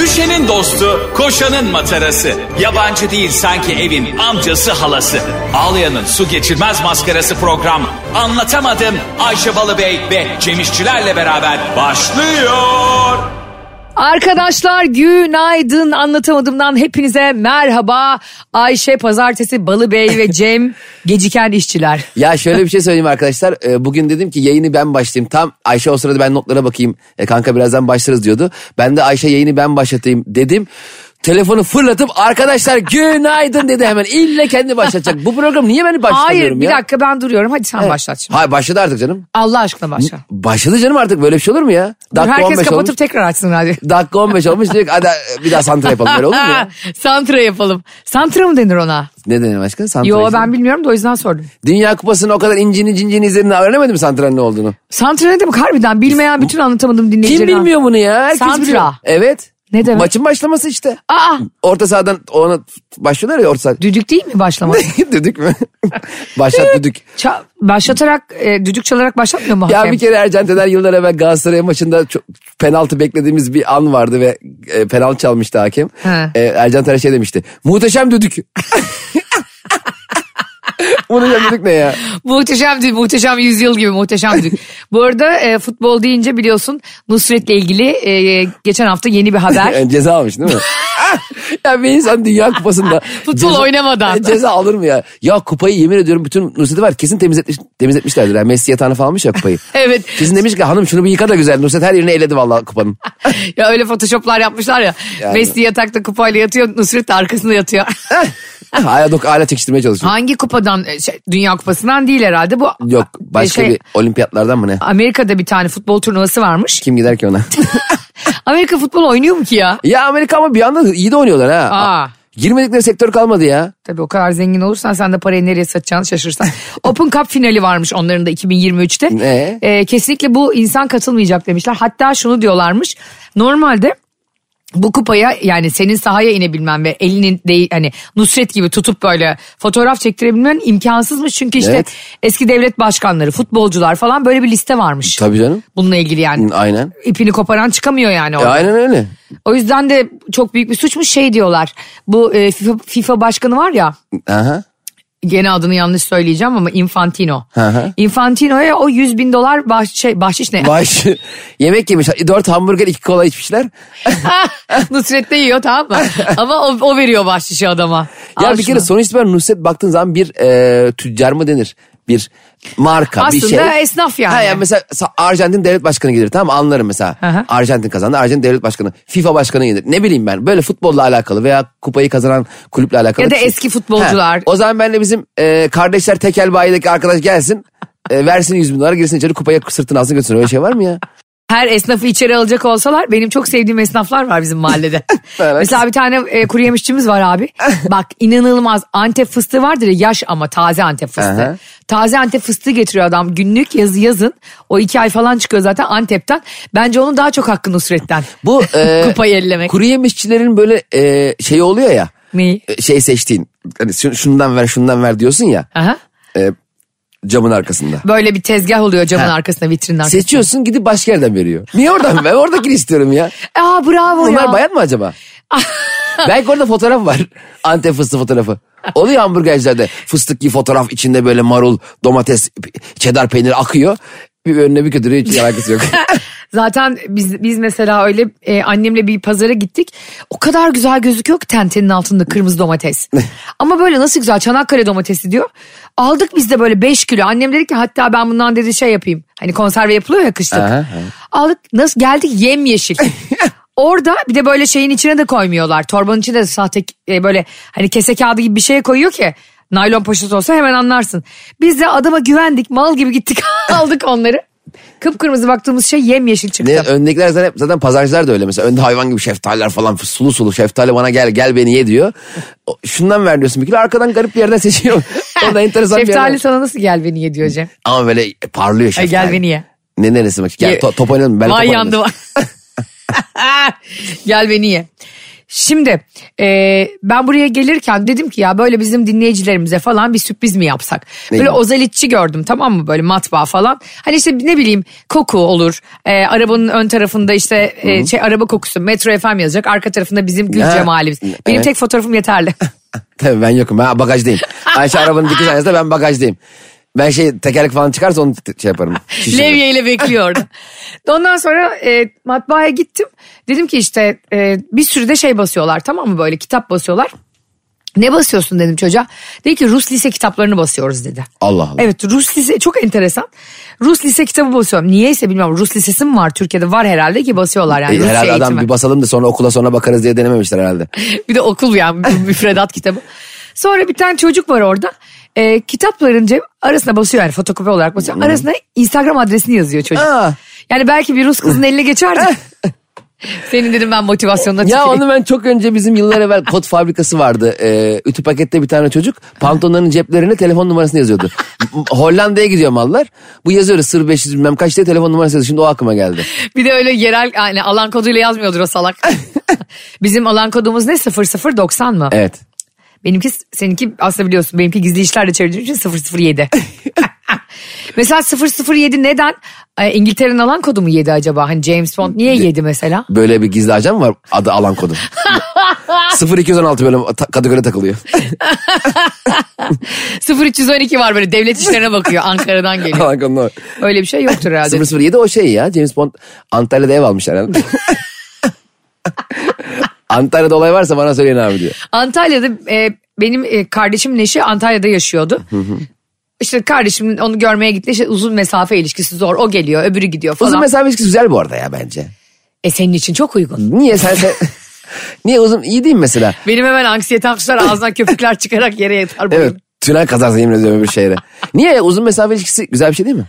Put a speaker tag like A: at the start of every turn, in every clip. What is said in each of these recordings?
A: Ayşe'nin dostu, koşanın matarası. Yabancı değil sanki evin amcası halası. Ağlayan'ın su geçirmez maskarası program. Anlatamadım Ayşe Balıbey ve Cemişçilerle beraber başlıyor.
B: Arkadaşlar günaydın anlatamadımdan hepinize merhaba. Ayşe Pazartesi Balıbey ve Cem geciken işçiler.
C: Ya şöyle bir şey söyleyeyim arkadaşlar. Ee, Bugün dedim ki yayını ben başlayayım. Tam Ayşe o sırada ben notlara bakayım. E, Kanka birazdan başlarız diyordu. Ben de Ayşe yayını ben başlatayım dedim. Telefonu fırlatıp arkadaşlar günaydın dedi hemen. İlle kendi başlatacak. Bu program niye ben başlamıyorum ya?
B: Hayır bir dakika ben duruyorum hadi sen başlat şimdi.
C: Hayır başladı artık canım.
B: Allah aşkına başla.
C: Başladı canım artık böyle bir şey olur mu ya?
B: Dur,
C: Dakika
B: herkes
C: 15
B: kapatıp
C: olmuş.
B: tekrar açsın hadi.
C: Dakika 15 olmuş diyor ki hadi e, bir daha santra yapalım böyle olur mu ya?
B: Santra yapalım. Santra mı denir ona?
C: Ne denir başka? Santra
B: Yo
C: işte.
B: ben bilmiyorum da o yüzden sordum.
C: Dünya kupasını o kadar incini cincini izledin öğrenemedin mi santranın ne olduğunu?
B: Santra ne demek harbiden bilmeyen bütün anlatamadım
C: Kim
B: dinleyicilerine.
C: bilmiyor bunu ya? Herkes
B: Santra.
C: biliyor. Evet.
B: Ne demek?
C: Maçın başlaması işte.
B: Aa
C: Orta sahadan ona başlıyorlar ya orta saha.
B: düdük değil mi başlamak?
C: düdük mü? Başlat düdük.
B: Ça- başlatarak e, düdük çalarak başlatmıyor mu hakem?
C: Ya bir kere Ercan Tener yıllar evvel Galatasaray maçında çok penaltı beklediğimiz bir an vardı ve e, penaltı çalmıştı hakem.
B: He.
C: E, Ercan Tener şey demişti. Muhteşem düdük. Muhteşem düdük ne ya?
B: Muhteşemdi, muhteşem yüzyıl gibi muhteşemdi. Bu arada e, futbol deyince biliyorsun Nusret'le ilgili e, geçen hafta yeni bir haber.
C: Yani E, ceza almış değil mi? Ah! ya bir insan dünya kupasında
B: Ah, Futbol oynamadan.
C: E, ceza alır mı ya? Ya kupayı yemin ediyorum bütün Nusret'i var kesin temizletmiş, temizletmişlerdir. Yani Messi yatağını falan almış ya kupayı.
B: Evet.
C: Kesin demiş ki hanım şunu bir yıka da güzel. Nusret her yerini elledi vallahi kupanın.
B: ya öyle photoshoplar yapmışlar ya.
C: Yani.
B: Messi yatakta kupayla yatıyor, Nusret de arkasında yatıyor.
C: Ah, hala, dok hala çekiştirmeye çalışıyor.
B: Hangi kupadan? e, şey, Dünya Kupası'ndan değil herhalde bu.
C: Yok başka
B: şey, Ah.
C: bir olimpiyatlardan mı ne?
B: Amerika'da bir tane futbol turnuvası varmış.
C: Kim gider ki ona?
B: Amerika futbol oynuyor mu ki ya?
C: ya Amerika ama bir yandan iyi de oynuyorlar ha.
B: Aa.
C: Girmedikleri sektör kalmadı ya.
B: Tabii o kadar zengin olursan sen de parayı nereye satacağını şaşırırsan. Open Cup finali varmış onların da 2023'te.
C: Ee?
B: Ee, kesinlikle bu insan katılmayacak demişler. Hatta şunu diyorlarmış. Normalde bu kupaya yani senin sahaya inebilmen ve elinin değil hani Nusret gibi tutup böyle fotoğraf çektirebilmen imkansızmış. Çünkü işte
C: Evet.
B: eski devlet başkanları, futbolcular falan böyle bir liste varmış.
C: Tabii canım. Hmm,
B: Bununla ilgili yani.
C: Aynen.
B: İpini koparan çıkamıyor yani
C: E,
B: orada.
C: aynen öyle.
B: O yüzden de çok büyük bir suçmuş şey diyorlar. Bu e, FIFA, FIFA başkanı var ya
C: Aha.
B: gene adını yanlış söyleyeceğim ama Infantino.
C: Hı hı.
B: Infantino'ya o 100 bin dolar bah- şey, bahşiş ne?
C: Baş yemek yemiş. Dört hamburger iki kola içmişler.
B: Nusret de yiyor tamam mı? ama o, o veriyor bahşişi adama.
C: Ya
B: Al
C: bir
B: şunu.
C: kere sonuç itibariyle Nusret baktığın zaman bir e, tüccar mı denir? Bir marka bir şey.
B: Aslında esnaf yani.
C: Ha yani mesela sa- Arjantin devlet başkanı gelir tamam mı? anlarım mesela.
B: hı.
C: Arjantin kazandı Arjantin devlet başkanı. FIFA başkanı gelir ne bileyim ben böyle futbolla alakalı veya kupayı kazanan kulüple alakalı.
B: Ya da
C: bir şey.
B: eski futbolcular.
C: Ha, o zaman benle bizim e, kardeşler tekel bayideki arkadaş gelsin. e, versin 100 bin dolar girsin içeri kupayı sırtına alsın götürsün öyle şey var mı ya?
B: Her esnafı içeri alacak olsalar benim çok sevdiğim esnaflar var bizim mahallede.
C: Evet.
B: Mesela bir tane e, kuru yemişçimiz var abi. Bak inanılmaz Antep fıstığı vardır ya yaş ama taze Antep fıstığı.
C: Aha.
B: taze Antep fıstığı getiriyor adam günlük yazı yazın. O iki ay falan çıkıyor zaten Antep'ten. Bence onun daha çok hakkı Nusret'ten.
C: Bu e,
B: Kupayı ellemek.
C: kuru yemişçilerin böyle e, şeyi oluyor ya.
B: Neyi?
C: e, Şey seçtiğin hani şu- şundan ver şundan ver diyorsun ya
B: Aha.
C: camın arkasında.
B: Böyle bir tezgah oluyor camın
C: Ha.
B: arkasında vitrinin arkasında.
C: Seçiyorsun gidip başka yerden veriyor. Niye oradan? Ben oradakini istiyorum ya.
B: E, Aa bravo
C: Bunlar
B: ya.
C: bayan mı acaba? Belki orada fotoğraf var. Antep fıstığı fotoğrafı. Oluyor hamburgercilerde. Fıstıklı fotoğraf içinde böyle marul, domates, çedar peyniri akıyor. Bir önüne bir kötülüğü hiç alakası yok.
B: Zaten biz biz mesela öyle e, annemle bir pazara gittik. O kadar güzel gözüküyor ki tentenin altında kırmızı domates. Ama böyle nasıl güzel Çanakkale domatesi diyor. Aldık biz de böyle 5 kilo. Annem dedi ki hatta ben bundan dedi şey yapayım. Hani konserve yapılıyor ya kışlık.
C: Aha, aha.
B: Aldık nasıl geldik yemyeşil. Orada bir de böyle şeyin içine de koymuyorlar. Torbanın içine de sahte e, böyle hani kese kağıdı gibi bir şey koyuyor ki. Naylon poşet olsa hemen anlarsın. Biz de adama güvendik mal gibi gittik aldık onları. Kıpkırmızı baktığımız şey yemyeşil çıktı.
C: ne, öndekiler zaten, zaten pazarcılar da öyle mesela. Önde hayvan gibi şeftaliler falan sulu sulu şeftali bana gel gel beni ye diyor. O- Şundan ver diyorsun bir kilo arkadan garip bir yerden seçiyor. Orada enteresan bir yer
B: Şeftali
C: var.
B: sana nasıl gel beni ye diyor Cem.
C: Ama böyle parlıyor
B: Ay
C: şeftali.
B: gel beni ye.
C: Ne neresi bak? Gel
B: Ye-
C: to, top oynayalım. Ben top
B: Vay
C: oynarım.
B: yandı vay. gel beni ye. Şimdi e, ben buraya gelirken dedim ki ya böyle bizim dinleyicilerimize falan bir sürpriz mi yapsak?
C: Ne
B: böyle
C: gibi?
B: ozalitçi gördüm tamam mı böyle matbaa falan. Hani işte ne bileyim koku olur. E, arabanın ön tarafında işte e, şey araba kokusu Metro FM yazacak. Arka tarafında bizim gül
C: Ha,
B: cemalimiz. Benim
C: evet.
B: tek fotoğrafım yeterli.
C: Tabii ben yokum. Ben bagajdayım. Ayşe arabanın dikiş aynasında ben bagajdayım. Ben şey tekerlek falan çıkarsa onu t- şey yaparım. şişiririm.
B: Levye ile bekliyordu. Ondan sonra e, matbaaya gittim. Dedim ki işte e, bir sürü de şey basıyorlar tamam mı böyle kitap basıyorlar. Ne basıyorsun dedim çocuğa. Dedi ki Rus lise kitaplarını basıyoruz dedi.
C: Allah Allah.
B: Evet Rus lise çok enteresan. Rus lise kitabı basıyorum. Niyeyse bilmiyorum Rus lisesi mi var Türkiye'de var herhalde ki basıyorlar yani.
C: E,
B: Rusça
C: herhalde adam
B: eğitimi.
C: bir basalım da sonra okula sonra bakarız diye denememişler herhalde.
B: bir de okul yani bir müfredat kitabı. Sonra bir tane çocuk var orada. Ee, kitapların cep arasına basıyor yani fotokopi olarak basıyor. Arasına Instagram adresini yazıyor çocuk.
C: Aa.
B: Yani belki bir Rus kızın eline geçerdi. Senin dedim ben motivasyonuna
C: Ya
B: tüküreyim.
C: onu ben çok önce bizim yıllar evvel kot fabrikası vardı. Ee, ütü pakette bir tane çocuk pantolonların ceplerine telefon numarasını yazıyordu. Hollanda'ya gidiyor mallar. Bu yazıyoruz sır 500 bilmem kaç diye telefon numarası yazıyor. Şimdi o aklıma geldi.
B: Bir de öyle yerel yani alan koduyla yazmıyordur o salak. Bizim alan kodumuz ne 0090 mı?
C: Evet.
B: Benimki seninki aslında biliyorsun benimki gizli işlerle çevirdiğim için 007. mesela 007 neden? Ee, İngiltere'nin alan kodu mu 7 acaba? Hani James Bond niye 7 mesela?
C: Böyle bir gizli ajan var adı alan kodu. 0216 böyle ta- kategori takılıyor.
B: 0312 var böyle devlet işlerine bakıyor Ankara'dan geliyor.
C: alan kodu. numara.
B: Öyle bir şey yoktur herhalde.
C: 007 o şey ya James Bond Antalya'da ev almışlar herhalde. Antalya'da olay varsa bana söyleyin abi diyor.
B: Antalya'da e, benim e, kardeşimin eşi Antalya'da yaşıyordu. İşte kardeşim onu görmeye gitti. İşte uzun mesafe ilişkisi zor. O geliyor, öbürü gidiyor falan.
C: Uzun mesafe ilişkisi güzel bu arada ya bence.
B: e senin için çok uygun.
C: Niye sen sen... Niye uzun iyi değil mi mesela?
B: Benim hemen anksiyetem tutar ağzından köpükler çıkarak yere yatar. boyum.
C: Evet. Tünel kazarsın yemin ediyorum öbür şehre. Niye ya? uzun mesafe ilişkisi güzel bir şey değil mi?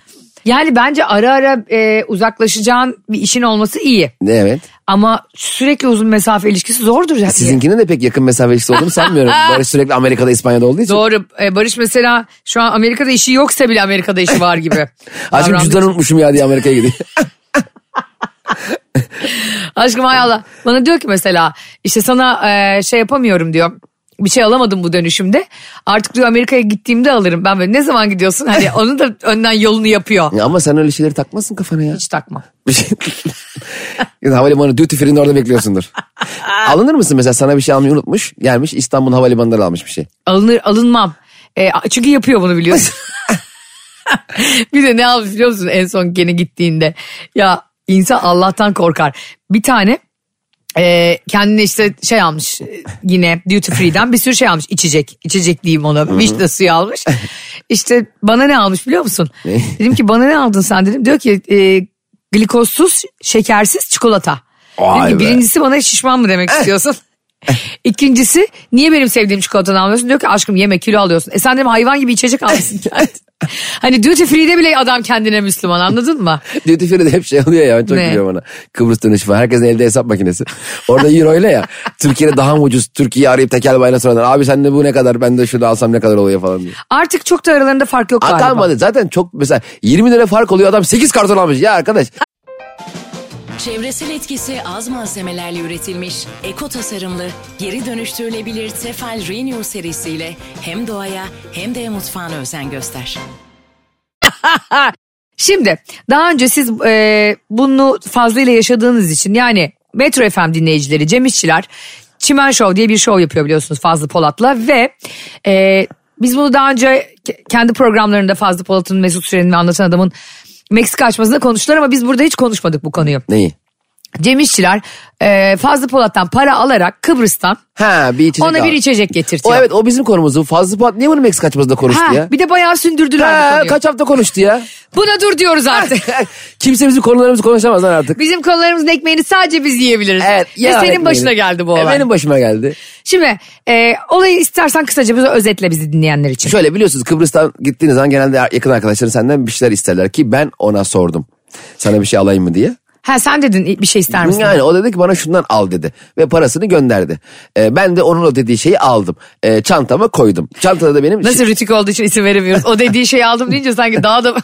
B: Yani bence ara ara e, uzaklaşacağın bir işin olması iyi.
C: Evet.
B: Ama sürekli uzun mesafe ilişkisi zordur.
C: E,
B: Yani.
C: Sizinkinin de pek yakın mesafe ilişkisi olduğunu sanmıyorum. Barış sürekli Amerika'da İspanya'da olduğu için.
B: Doğru. E, Barış mesela şu an Amerika'da işi yoksa bile Amerika'da işi var gibi.
C: Aşkım
B: davranmış.
C: cüzdanı unutmuşum ya diye Amerika'ya gidiyor.
B: Aşkım hay Allah. Bana diyor ki mesela işte sana e, şey yapamıyorum diyor. Bir şey alamadım bu dönüşümde. Artık diyor Amerika'ya gittiğimde alırım. Ben böyle ne zaman gidiyorsun? Hani onun da önden yolunu yapıyor.
C: Ya ama sen öyle şeyleri takmazsın kafana ya.
B: Hiç takma.
C: Bir şey... Ya da Havalimanı duty free'nin orada bekliyorsundur. Alınır mısın mesela sana bir şey almayı unutmuş. Gelmiş İstanbul havalimanından almış bir şey.
B: Alınır alınmam. E, çünkü yapıyor bunu biliyorsun. bir de ne almış biliyor musun en son gene gittiğinde? Ya insan Allah'tan korkar. Bir tane e, kendine işte şey almış e, yine duty free'den bir sürü şey almış içecek. içecek diyeyim ona vişne suyu almış. İşte bana ne almış biliyor musun?
C: Ne?
B: dedim ki bana ne aldın sen dedim. Diyor ki e, glikosuz şekersiz çikolata.
C: Vay
B: dedim ki,
C: be. Eh.
B: birincisi bana şişman mı demek istiyorsun? İkincisi niye benim sevdiğim çikolatadan almıyorsun? Diyor ki aşkım yeme kilo alıyorsun. E sen dedim hayvan gibi içecek almışsın kendin. hani duty free'de bile adam kendine Müslüman anladın mı?
C: Duty free'de hep şey oluyor ya ben çok
B: Ne?
C: gülüyorum ona. Kıbrıs dönüşü falan herkesin elde hesap makinesi. Orada euro ile ya Türkiye'de daha mı ucuz Türkiye'yi arayıp tekel bayına soranlar. Abi sen de bu ne kadar ben de şunu alsam ne kadar oluyor falan diye.
B: Artık çok da aralarında fark yok
C: Aa,
B: galiba.
C: Kalmadı zaten çok mesela 20 lira fark oluyor adam 8 karton almış ya arkadaş.
D: Çevresel etkisi az malzemelerle üretilmiş, eko tasarımlı, geri dönüştürülebilir Tefal Renew serisiyle hem doğaya hem de mutfağına özen göster.
B: Şimdi daha önce siz e, bunu fazlıyla yaşadığınız için yani Metro FM dinleyicileri Cem İşçiler Çimen Show diye bir show yapıyor biliyorsunuz Fazlı Polat'la ve e, biz bunu daha önce ke- kendi programlarında Fazlı Polat'ın Mesut Süren'in ve Anlatan Adam'ın Meksika açmasında konuştular ama biz burada hiç konuşmadık bu konuyu.
C: Neyi?
B: Cem İşçiler e, Fazlı Polat'tan para alarak Kıbrıs'tan
C: Ha bir içecek
B: ona
C: al.
B: bir içecek
C: O
B: getirtiyor.
C: evet o bizim konumuzdu. Fazlı Polat niye bunu Meksika açmasında konuştu
B: ha,
C: ya?
B: bir de bayağı sündürdüler bu
C: Ha,
B: konuyu.
C: kaç hafta konuştu ya?
B: Buna dur diyoruz artık.
C: Kimse bizim konularımızı konuşamaz lan artık.
B: Bizim konularımızın ekmeğini sadece biz yiyebiliriz.
C: Evet,
B: Ve
C: ya
B: senin
C: ekmeğini.
B: başına geldi bu olay.
C: E, benim başıma geldi.
B: Şimdi e, olayı istersen kısaca bize özetle bizi dinleyenler için.
C: Şöyle biliyorsunuz Kıbrıs'tan gittiğiniz zaman genelde yakın arkadaşların senden bir şeyler isterler ki ben ona sordum. Sana bir şey alayım mı diye.
B: Ha sen dedin bir şey ister misin?
C: Yani o dedi ki bana şundan al dedi ve parasını gönderdi. Ee, ben de onun o dediği şeyi aldım. Ee, çantama koydum. Çantada da benim şey
B: Nasıl rütük olduğu için isim veremiyoruz. O dediği şeyi aldım deyince sanki daha da...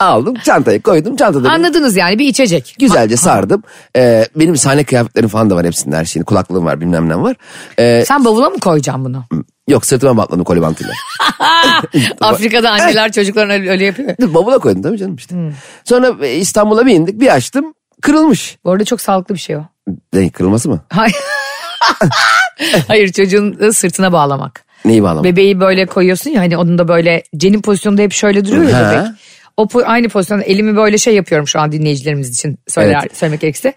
C: Aldım çantaya koydum çantada. benim-
B: Anladınız yani bir içecek.
C: Güzelce sardım. Ee, benim sahne kıyafetlerim falan da var hepsinin her şeyini. Kulaklığım var bilmem ne var. Ee,
B: Sen bavula mı koyacaksın bunu?
C: yok sırtıma bağladım kolibantıyla.
B: Afrika'da anneler çocuklarına öyle öyle yapıyor.
C: Bavula koydum tabii canım işte.
B: Hmm.
C: Sonra e, İstanbul'a bir indik bir açtım kırılmış.
B: Bu arada çok sağlıklı bir şey o.
C: Ne kırılması mı?
B: Hayır. Hayır çocuğun sırtına bağlamak.
C: Neyi bağlamak?
B: Bebeği böyle koyuyorsun ya hani onun da böyle cenin pozisyonunda hep şöyle duruyor ya
C: Ha.
B: bebek. O po- aynı pozisyonda elimi böyle şey yapıyorum şu an dinleyicilerimiz için söyler,
C: Evet.
B: söylemek gerekirse.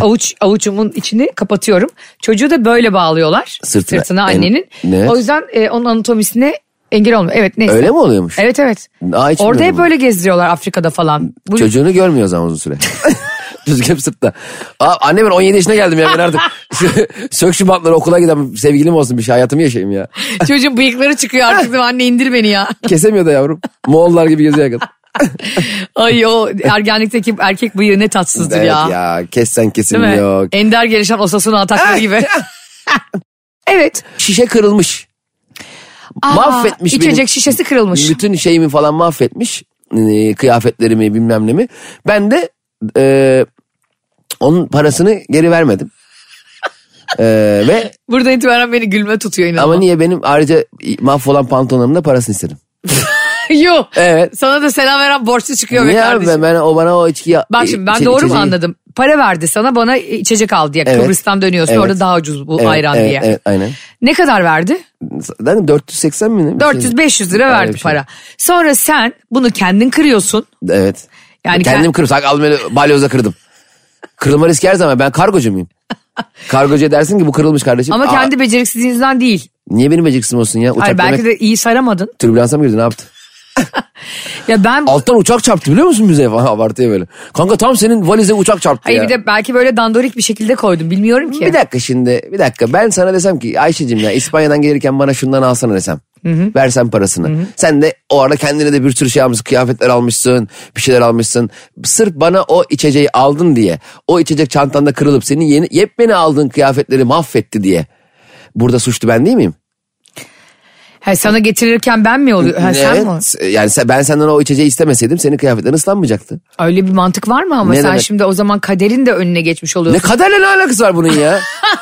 B: Avuç, avucumun içini kapatıyorum. Çocuğu da böyle bağlıyorlar
C: Sırtına.
B: sırtına,
C: En-
B: annenin.
C: Evet.
B: O yüzden e, onun anatomisine engel olmuyor. Evet neyse.
C: Öyle mi oluyormuş?
B: Evet evet.
C: Aa, hiç
B: Orada
C: bilmiyordum
B: hep
C: bunu.
B: böyle gezdiriyorlar Afrika'da falan. Bu
C: Çocuğunu görmüyor o zaman uzun süre. Çocuk hep sırtta. Aa, anne ben 17 yaşına geldim ya ben artık. Sök şu bantları okula giden sevgilim olsun bir şey hayatımı yaşayayım ya.
B: çocuğun bıyıkları çıkıyor artık dedim, anne indir beni ya.
C: Kesemiyor da yavrum. Moğollar gibi geziyor kadın.
B: Ay o ergenlikteki erkek bıyığı ne tatsızdır
C: Evet
B: ya.
C: ya. kessen
B: Değil mi?
C: kesilmiyor.
B: Ender gelişen osasuna atakları
C: Eh!
B: gibi. evet.
C: Şişe kırılmış.
B: Aa,
C: Mahvetmiş
B: İçecek
C: benim.
B: şişesi kırılmış.
C: Bütün şeyimi falan mahvetmiş. Ee, kıyafetlerimi bilmem nemi. Ben de e, onun parasını geri vermedim. Ee, ve
B: Burada itibaren beni gülme tutuyor inan.
C: ama niye benim ayrıca mahvolan pantolonlarımın da parasını istedim.
B: Yok.
C: Evet.
B: Sana da selam veren borçlu çıkıyor be
C: Niye abi
B: kardeşim.
C: ben, ben o bana o içkiyi...
B: Bak şimdi ben
C: içe-
B: doğru mu
C: içeceği-
B: anladım? Para verdi sana bana içecek al diye.
C: Evet.
B: Kıbrıs'tan dönüyorsun
C: Evet.
B: orada daha ucuz bu
C: Evet,
B: ayran
C: evet,
B: diye.
C: Evet aynen.
B: Ne kadar verdi?
C: Zaten 480 mi? ne? Bir şey-
B: 400-500 lira
C: Öyle
B: verdi
C: bir şey.
B: para. Sonra sen bunu kendin kırıyorsun.
C: Evet.
B: Yani
C: Kendim
B: kend-
C: kırdım. Sak almayı balyoza kırdım. Kırılma riski her zaman. Ben kargocu muyum? Kargocuya dersin ki bu kırılmış kardeşim.
B: Ama
C: Aa,
B: kendi beceriksizliğinizden değil.
C: Niye benim beceriksizim olsun ya? Uçak
B: Hayır,
C: demek
B: belki de iyi saramadın.
C: türbülansa mı girdi ne yaptı?
B: Ya ben
C: Alttan uçak çarptı biliyor musun bize? Falan Abartıya böyle. Kanka tam senin valize uçak çarptı
B: Hayır
C: ya.
B: bir de belki böyle dandorik bir şekilde koydum bilmiyorum ki.
C: Bir dakika şimdi bir dakika ben sana desem ki Ayşe'cim ya İspanya'dan gelirken bana şundan alsana desem. Versen parasını. Sen de o arada kendine de bir sürü şey almışsın. Kıyafetler almışsın. Bir şeyler almışsın. Sırf bana o içeceği aldın diye. O içecek çantanda kırılıp senin yeni, yepyeni aldığın kıyafetleri mahvetti diye. Burada suçlu ben değil miyim?
B: Ha, sana getirirken ben mi oluyor? Ha, sen mi?
C: Evet. Yani sen- ben senden o içeceği istemeseydim senin kıyafetlerin ıslanmayacaktı.
B: Öyle bir mantık var mı ama
C: Ne
B: sen
C: demek?
B: şimdi o zaman kaderin de önüne geçmiş
C: Ne
B: oluyorsun.
C: kaderle ne alakası var bunun ya?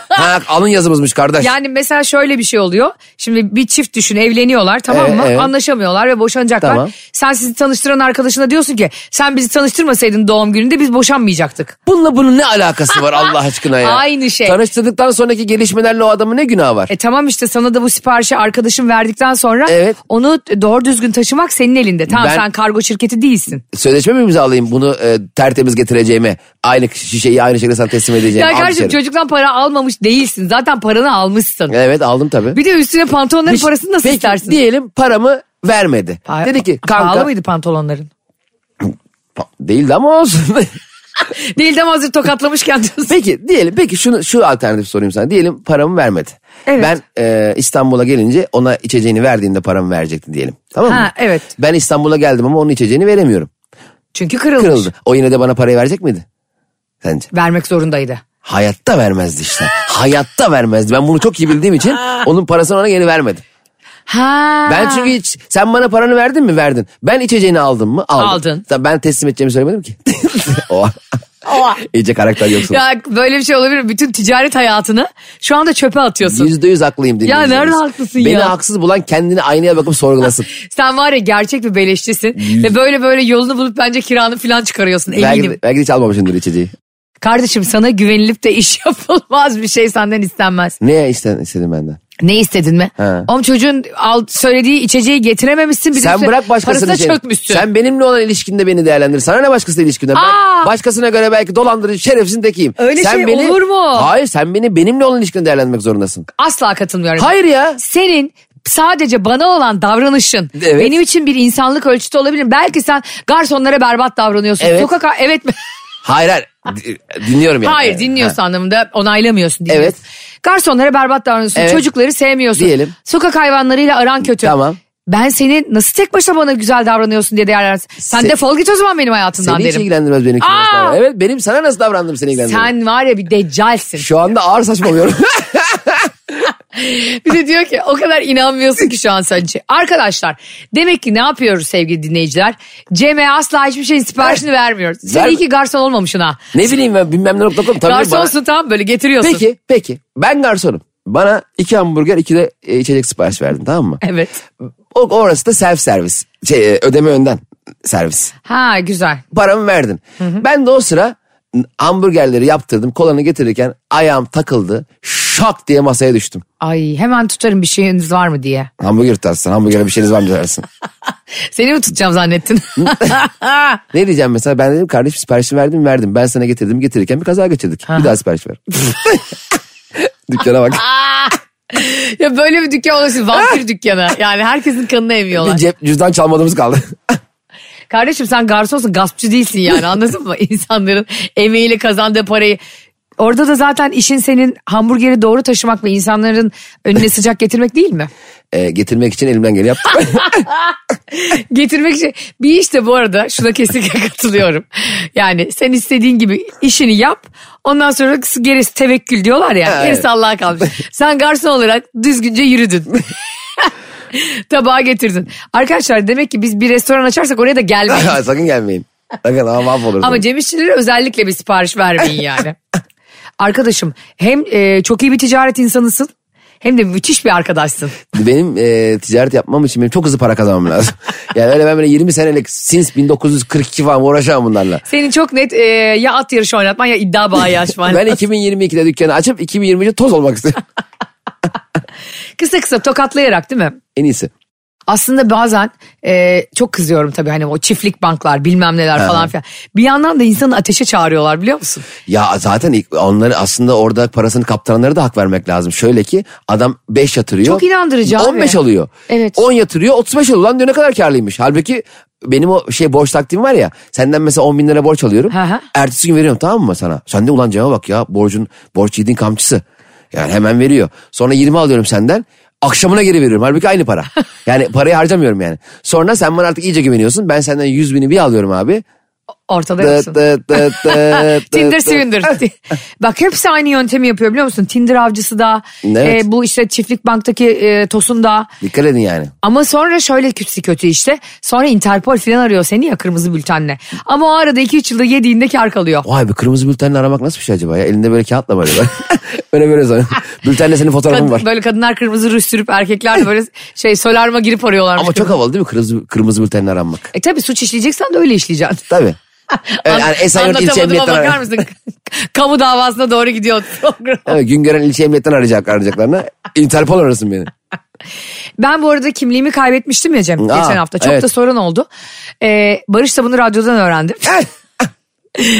C: ha, alın yazımızmış kardeş.
B: Yani mesela şöyle bir şey oluyor. Şimdi bir çift düşün evleniyorlar tamam
C: Ee,
B: mı?
C: evet.
B: Anlaşamıyorlar ve boşanacaklar.
C: Tamam.
B: Sen sizi tanıştıran arkadaşına diyorsun ki sen bizi tanıştırmasaydın doğum gününde biz boşanmayacaktık.
C: Bununla bunun ne alakası var Allah aşkına ya?
B: Aynı şey.
C: Tanıştırdıktan sonraki gelişmelerle o adamın ne günahı var?
B: E tamam işte sana da bu siparişi arkadaşın verdikten sonra
C: Evet.
B: onu doğru düzgün taşımak senin elinde. Tamam
C: Ben-
B: sen kargo şirketi değilsin.
C: Sözleşme mi imzalayayım bunu e, tertemiz getireceğime? Aynı şişeyi aynı şekilde sana teslim edeceğime.
B: Ya
C: Al
B: kardeşim
C: dışarı.
B: çocuktan para almamış değilsin. Zaten paranı almışsın.
C: Evet aldım tabii.
B: Bir de üstüne pantolonların parasını nasıl
C: Peki,
B: istersin?
C: Diyelim paramı vermedi.
B: Pa-
C: Dedi ki
B: Pahalı
C: kanka.
B: mıydı pantolonların?
C: Pa- Değildi ama olsun.
B: Değil de hazır tokatlamışken diyorsun.
C: peki diyelim peki şunu şu alternatif sorayım sana. Diyelim paramı vermedi.
B: Evet.
C: Ben e, İstanbul'a gelince ona içeceğini verdiğinde paramı verecekti diyelim. Tamam mı?
B: Ha, evet.
C: Ben İstanbul'a geldim ama onun içeceğini veremiyorum.
B: Çünkü kırılmış.
C: Kırıldı. O yine de bana parayı verecek miydi? Sence?
B: Vermek zorundaydı.
C: Hayatta vermezdi işte. Hayatta vermezdi. Ben bunu çok iyi bildiğim için onun parasını ona geri vermedim.
B: Ha.
C: Ben çünkü hiç sen bana paranı verdin mi? Verdin. Ben içeceğini aldım mı? Aldım.
B: Aldın.
C: Tabii ben teslim edeceğimi söylemedim ki. o. İyice karakter yoksun.
B: Ya böyle bir şey olabilir mi? Bütün ticaret hayatını şu anda çöpe atıyorsun.
C: Yüzde yüz haklıyım dinleyicilerimiz.
B: nerede haklısın
C: Beni
B: ya?
C: haksız bulan kendini aynaya bakıp sorgulasın.
B: Sen var ya gerçek bir beleşçisin. ve böyle böyle yolunu bulup bence kiranı falan çıkarıyorsun
C: belki,
B: eminim.
C: de, belki de hiç almamışımdır içeceği.
B: Kardeşim sana güvenilip de iş yapılmaz bir şey senden istenmez.
C: Ne isten, istedin benden?
B: Ne istedin mi?
C: Ha.
B: Oğlum çocuğun al, söylediği içeceği getirememişsin. Bir de
C: Sen
B: üstüne
C: bırak başkasını.
B: şey, Parasına çökmüşsün.
C: Sen benimle olan ilişkinde beni değerlendir. Sana ne başkasıyla ilişkinden? Ben
B: Aa!
C: başkasına göre belki dolandırıcı şerefsizin tekiyim.
B: Öyle
C: sen
B: şey olur mu?
C: Hayır sen beni benimle olan ilişkinde değerlendirmek zorundasın.
B: Asla katılmıyorum.
C: Hayır ya.
B: Senin sadece bana olan davranışın
C: Evet.
B: benim için bir insanlık ölçütü olabilir. Belki sen garsonlara berbat davranıyorsun.
C: Evet.
B: Sokak evet mi?
C: Hayır hayır. Di- Dinliyorum yani.
B: Hayır
C: Evet.
B: dinliyorsun anlamında onaylamıyorsun.
C: Evet.
B: Dinliyorsun. Garsonlara berbat davranıyorsun.
C: Evet.
B: Çocukları sevmiyorsun.
C: Diyelim.
B: Sokak hayvanlarıyla aran kötü.
C: Tamam.
B: Ben seni nasıl tek başına bana güzel davranıyorsun diye değerlendirsin. Sen
C: Se-
B: defol git o zaman benim
C: Seni
B: hayatımdan
C: hiç
B: derim.
C: ilgilendirmez benim kim
B: Aa!
C: nasıl davran- Evet benim sana nasıl davrandım seni ilgilendirmez.
B: Sen var ya bir deccalsin.
C: Şu anda ağır saçmalıyorum.
B: Bir de diyor ki o kadar inanmıyorsun ki şu an sen. Arkadaşlar demek ki ne yapıyoruz sevgili dinleyiciler? Cem'e asla hiçbir şeyin siparişini vermiyoruz. Sen
C: Ver-
B: iyi ki garson olmamışsın ha.
C: Ne bileyim ben bilmem ne nokta com. Tabii bana-
B: Garsonsun tamam böyle getiriyorsun.
C: Peki peki ben garsonum. Bana iki hamburger iki de e, içecek sipariş verdin tamam mı?
B: Evet.
C: O, orası da self servis. Şey, e, ödeme önden servis.
B: Ha güzel.
C: Paramı verdin. Ben de o sıra n- hamburgerleri yaptırdım. Kolanı getirirken ayağım takıldı. Şak diye masaya düştüm.
B: Ay hemen tutarım bir şeyiniz var mı diye.
C: Hamburger tutarsın. Hamburgere bir şeyiniz var mı dersin.
B: Seni mi tutacağım zannettin?
C: ne diyeceğim mesela ben dedim kardeşim siparişimi verdim mi? verdim. Ben sana getirdim getirirken bir kaza geçirdik. Bir daha sipariş ver. Dükkana bak.
B: ya böyle bir dükkan olursun vampir dükkanı. Yani herkesin kanını
C: Bir
B: emiyorlar.
C: cep cüzdan çalmadığımız kaldı.
B: Kardeşim sen garsonsun gaspçı değilsin yani anladın mı? İnsanların emeğiyle kazandığı parayı. Orada da zaten işin senin hamburgeri doğru taşımak ve insanların önüne sıcak getirmek değil mi?
C: E, getirmek için elimden geleni yaptım.
B: Getirmek için bir işte bu arada şuna kesinlikle katılıyorum. Yani sen istediğin gibi işini yap ondan sonra gerisi tevekkül diyorlar ya
C: Evet.
B: gerisi Allah'a kalmış. Sen garson olarak düzgünce yürüdün. Tabağa getirdin. Arkadaşlar demek ki biz bir restoran açarsak oraya da gelmeyiz.
C: Sakın gelmeyin. Sakın ama mahvolursun.
B: Ama Cem İşçilere özellikle bir sipariş vermeyin yani. Arkadaşım hem e, çok iyi bir ticaret insanısın hem de müthiş bir arkadaşsın.
C: Benim e, ticaret yapmam için benim çok hızlı para kazanmam lazım. yani öyle ben böyle 20 senelik since 1942 falan uğraşamam bunlarla.
B: Senin çok net e, ya at yarışı oynatman ya iddia bağı açman.
C: Ben 2022'de dükkanı açıp 2023'te toz olmak istiyorum.
B: Kısa kısa tokatlayarak değil mi?
C: en iyisi.
B: Aslında bazen e, çok kızıyorum tabii hani o çiftlik banklar bilmem neler falan filan. Bir yandan da insanı ateşe çağırıyorlar biliyor musun?
C: Ya zaten ilk- onları aslında orada parasını kaptıranlara da hak vermek lazım. Şöyle ki adam 5 yatırıyor.
B: Çok inandırıcı abi.
C: 15 alıyor.
B: Evet.
C: 10 yatırıyor 35 alıyor. Lan diyor ne kadar karlıymış. Halbuki benim o şey borç taktiğim var ya. Senden mesela 10 bin lira borç alıyorum.
B: Hı hı.
C: Ertesi gün veriyorum tamam mı sana? Sen de ulan cama bak ya borcun borç yediğin kamçısı. Yani hemen veriyor. Sonra 20 alıyorum senden. Akşamına geri veriyorum. Halbuki aynı para. Yani parayı harcamıyorum yani. Sonra sen bana artık iyice güveniyorsun. Ben senden 100 bini bir alıyorum abi.
B: Ortada
C: Dıt
B: yoksun.
C: dıt dıt dıt
B: Tinder
C: dıt.
B: Swinder. Bak hepsi aynı yöntemi yapıyor biliyor musun? Tinder avcısı da,
C: Evet.
B: e, bu işte çiftlik banktaki e, tosun da.
C: Dikkat edin yani.
B: Ama sonra şöyle kötü kötü işte. Sonra Interpol falan arıyor seni ya kırmızı bültenle. Ama o arada 2-3 yılda yediğinde kar kalıyor.
C: Vay be kırmızı bültenle aramak nasıl bir şey acaba ya? Elinde böyle kağıtla böyle. böyle. böyle böyle sonra. Bültenle senin fotoğrafın
B: Kad-
C: var.
B: böyle kadınlar kırmızı ruj sürüp erkekler de böyle şey solarma girip arıyorlar.
C: Ama çok havalı değil mi kırmızı, kırmızı bültenle aranmak?
B: E tabi suç işleyeceksen de öyle işleyeceksin.
C: Tabii. Evet, yani Esenyurt İlçe
B: Anlatamadıma
C: Emniyet'ten
B: bakar
C: arar.
B: mısın? Kamu davasına doğru gidiyor program.
C: Evet, Güngören İlçe Emniyet'ten arayacak, arayacaklarına. Interpol arasın beni.
B: Ben bu arada kimliğimi kaybetmiştim ya Cem geçen hafta. Çok
C: evet.
B: da sorun oldu. Ee, Barış da bunu radyodan öğrendim.
C: Eh, ah.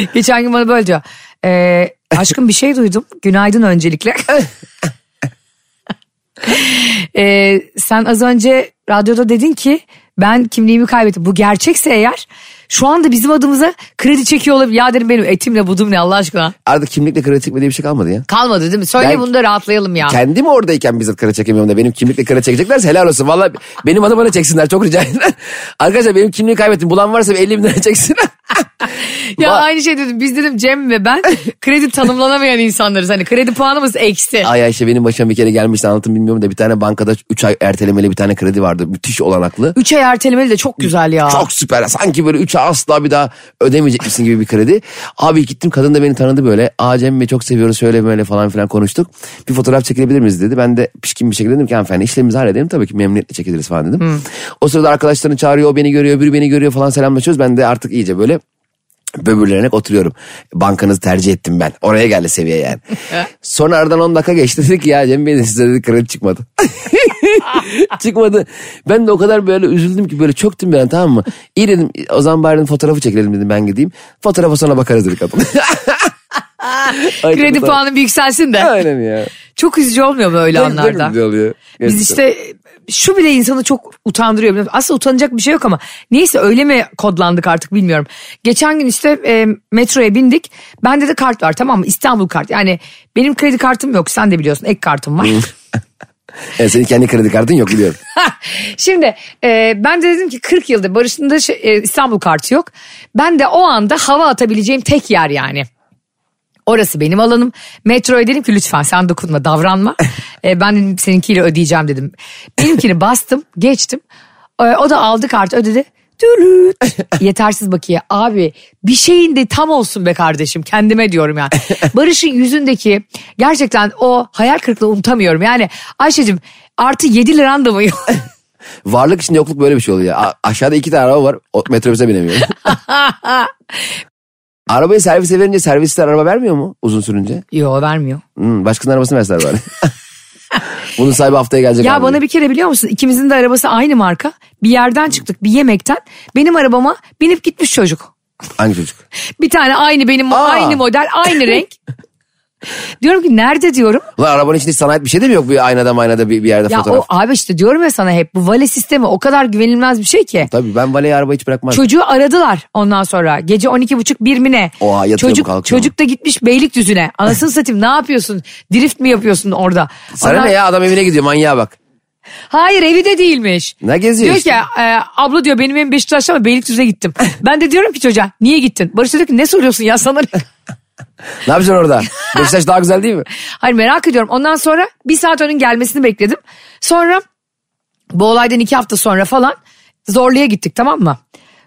B: geçen gün bana böyle diyor. Ee, aşkım bir şey duydum. Günaydın öncelikle.
C: Eh, ah,
B: Ee, sen az önce radyoda dedin ki ben kimliğimi kaybettim. Bu gerçekse eğer şu anda bizim adımıza kredi çekiyor olabilir. Ya dedim benim etimle budum ne Allah aşkına.
C: Artık kimlikle kredi çekme diye bir şey kalmadı ya.
B: Kalmadı değil mi? Söyle
C: Ben-
B: bunu da rahatlayalım ya.
C: Kendim oradayken bizzat kredi çekemiyorum da benim kimlikle kredi çekeceklerse helal olsun. Valla benim adı bana çeksinler çok rica ederim. Arkadaşlar benim kimliği kaybettim. Bulan varsa bir 50 bin lira çeksin.
B: Ya
C: Va-
B: aynı şey dedim. Biz dedim Cem ve ben kredi tanımlanamayan insanlarız. Hani kredi puanımız eksi.
C: Ay Ayşe benim başıma bir kere gelmişti anlatım bilmiyorum da bir tane bankada 3 ay ertelemeli bir tane kredi vardı. Müthiş olanaklı.
B: Üç ay ertelemeli de çok güzel ya.
C: Çok süper. Sanki böyle 3 asla bir daha ödemeyecekmişsin gibi bir kredi. Abi gittim kadın da beni tanıdı böyle. Aa Cem Bey çok seviyoruz şöyle böyle falan filan konuştuk. Bir fotoğraf çekilebilir miyiz dedi. Ben de pişkin bir şekilde dedim ki hanımefendi işlemimizi halledelim tabii ki memnuniyetle çekiliriz falan dedim. O sırada arkadaşlarını çağırıyor o beni görüyor öbürü beni görüyor falan selamlaşıyoruz. Ben de artık iyice böyle böbürlenerek oturuyorum. Bankanızı tercih ettim ben. Oraya geldi seviye yani. Sonra aradan 10 dakika geçti dedi ki ya Cem Bey de size dedi kredi çıkmadı. çıkmadı. Ben de o kadar böyle üzüldüm ki böyle çöktüm ben tamam mı? İyi dedim o zaman bari dedim fotoğrafı çekelim dedim ben gideyim. Fotoğrafa sonra bakarız dedi kadın. Ay,
B: Kredi
C: kadın-
B: puanım bir yükselsin de.
C: Aynen ya.
B: Çok üzücü olmuyor mu öyle
C: Tabii, tabii
B: anlarda?
C: güzel oluyor. Gerçekten.
B: Biz işte şu bile insanı çok utandırıyor. biliyor musun? Aslında utanacak bir şey yok ama neyse öyle mi kodlandık artık bilmiyorum. Geçen gün işte e, metroya bindik. Bende de kart var tamam mı? İstanbul kart. Yani benim kredi kartım yok sen de biliyorsun ek kartım var.
C: Evet, senin kendi kredi kartın yok biliyorum.
B: Şimdi e, ben de dedim ki 40 yıldır Barış'ın da şey- e, İstanbul kartı yok. Ben de o anda hava atabileceğim tek yer yani. Orası benim alanım. Metroya dedim ki lütfen sen dokunma davranma. E, ben dedim seninkiyle ödeyeceğim dedim. Benimkini bastım geçtim. E, o da aldı kartı ödedi. Dürüt. Yetersiz bakiye. Abi bir şeyin de tam olsun be kardeşim. Kendime diyorum yani. Barış'ın yüzündeki gerçekten o hayal kırıklığı unutamıyorum. Yani Ayşe'cim artı 7 liran da mı yok?
C: Varlık içinde yokluk böyle bir şey oluyor. A- aşağıda iki tane araba var. O, metrobüse binemiyorum. Arabayı servise verince servisler araba vermiyor mu uzun sürünce?
B: Yo vermiyor.
C: Hmm, başkasının arabasını verseler bari. Bunun sahibi haftaya gelecek.
B: Ya
C: abi.
B: bana bir kere biliyor musun ikimizin de arabası aynı marka. Bir yerden çıktık bir yemekten. Benim arabama binip gitmiş çocuk.
C: Hangi çocuk?
B: Bir tane aynı benim
C: Aa.
B: aynı model aynı renk. diyorum ki nerede diyorum.
C: Ulan arabanın içinde hiç sanayet bir şey de mi yok? Bir aynada maynada bir, bir yerde
B: Ya
C: fotoğraf.
B: o abi işte diyorum ya sana hep bu vale sistemi o kadar güvenilmez bir şey ki.
C: Tabii ben valeye araba hiç bırakmam.
B: Çocuğu aradılar ondan sonra. Gece 12.30 bir mi ne?
C: Oha, yatıyor mu,
B: çocuk,
C: kalkıyor mu?
B: çocuk da gitmiş Beylikdüzü'ne. Anasını satayım ne yapıyorsun? Drift mi yapıyorsun orada?
C: Sana
B: Ondan-
C: ne ya adam evine gidiyor manyağa bak.
B: Hayır evi de değilmiş.
C: Ne geziyor
B: diyor
C: işte?
B: ki e, abla diyor benim evim Beşiktaş'ta ama Beylikdüzü'ne gittim. ben de diyorum ki çocuğa niye gittin? Barış da diyor ki ne soruyorsun ya sana? ne?"
C: Ne yapacaksın orada? Beşiktaş daha güzel değil mi?
B: Hayır merak ediyorum. Ondan sonra bir saat onun gelmesini bekledim. Sonra bu olaydan iki hafta sonra falan Zorlu'ya gittik tamam mı?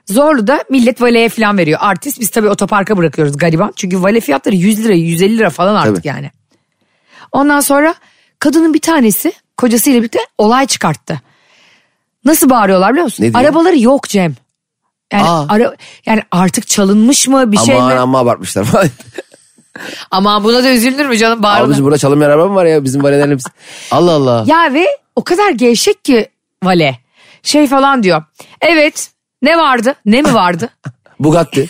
B: Zorlu'da millet valeye falan veriyor. Artist biz tabii otoparka bırakıyoruz gariban. Çünkü vale fiyatları 100 lira 150 lira falan artık
C: Tabii.
B: yani. Ondan sonra kadının bir tanesi kocasıyla birlikte olay çıkarttı. Nasıl bağırıyorlar biliyor musun?
C: Ne diyor?
B: Arabaları yok Cem. Yani,
C: Aa.
B: ara- yani artık çalınmış mı bir şey mi?
C: aman amma abartmışlar falan.
B: Ama buna da üzülür mü canım bağırılır.
C: Abicim burada çalınmayan araba mı var ya bizim valelerin hepsi? Allah Allah.
B: Ya ve o kadar gevşek ki Vale. Şey falan diyor. Evet ne vardı ne mi vardı?
C: Bugatti.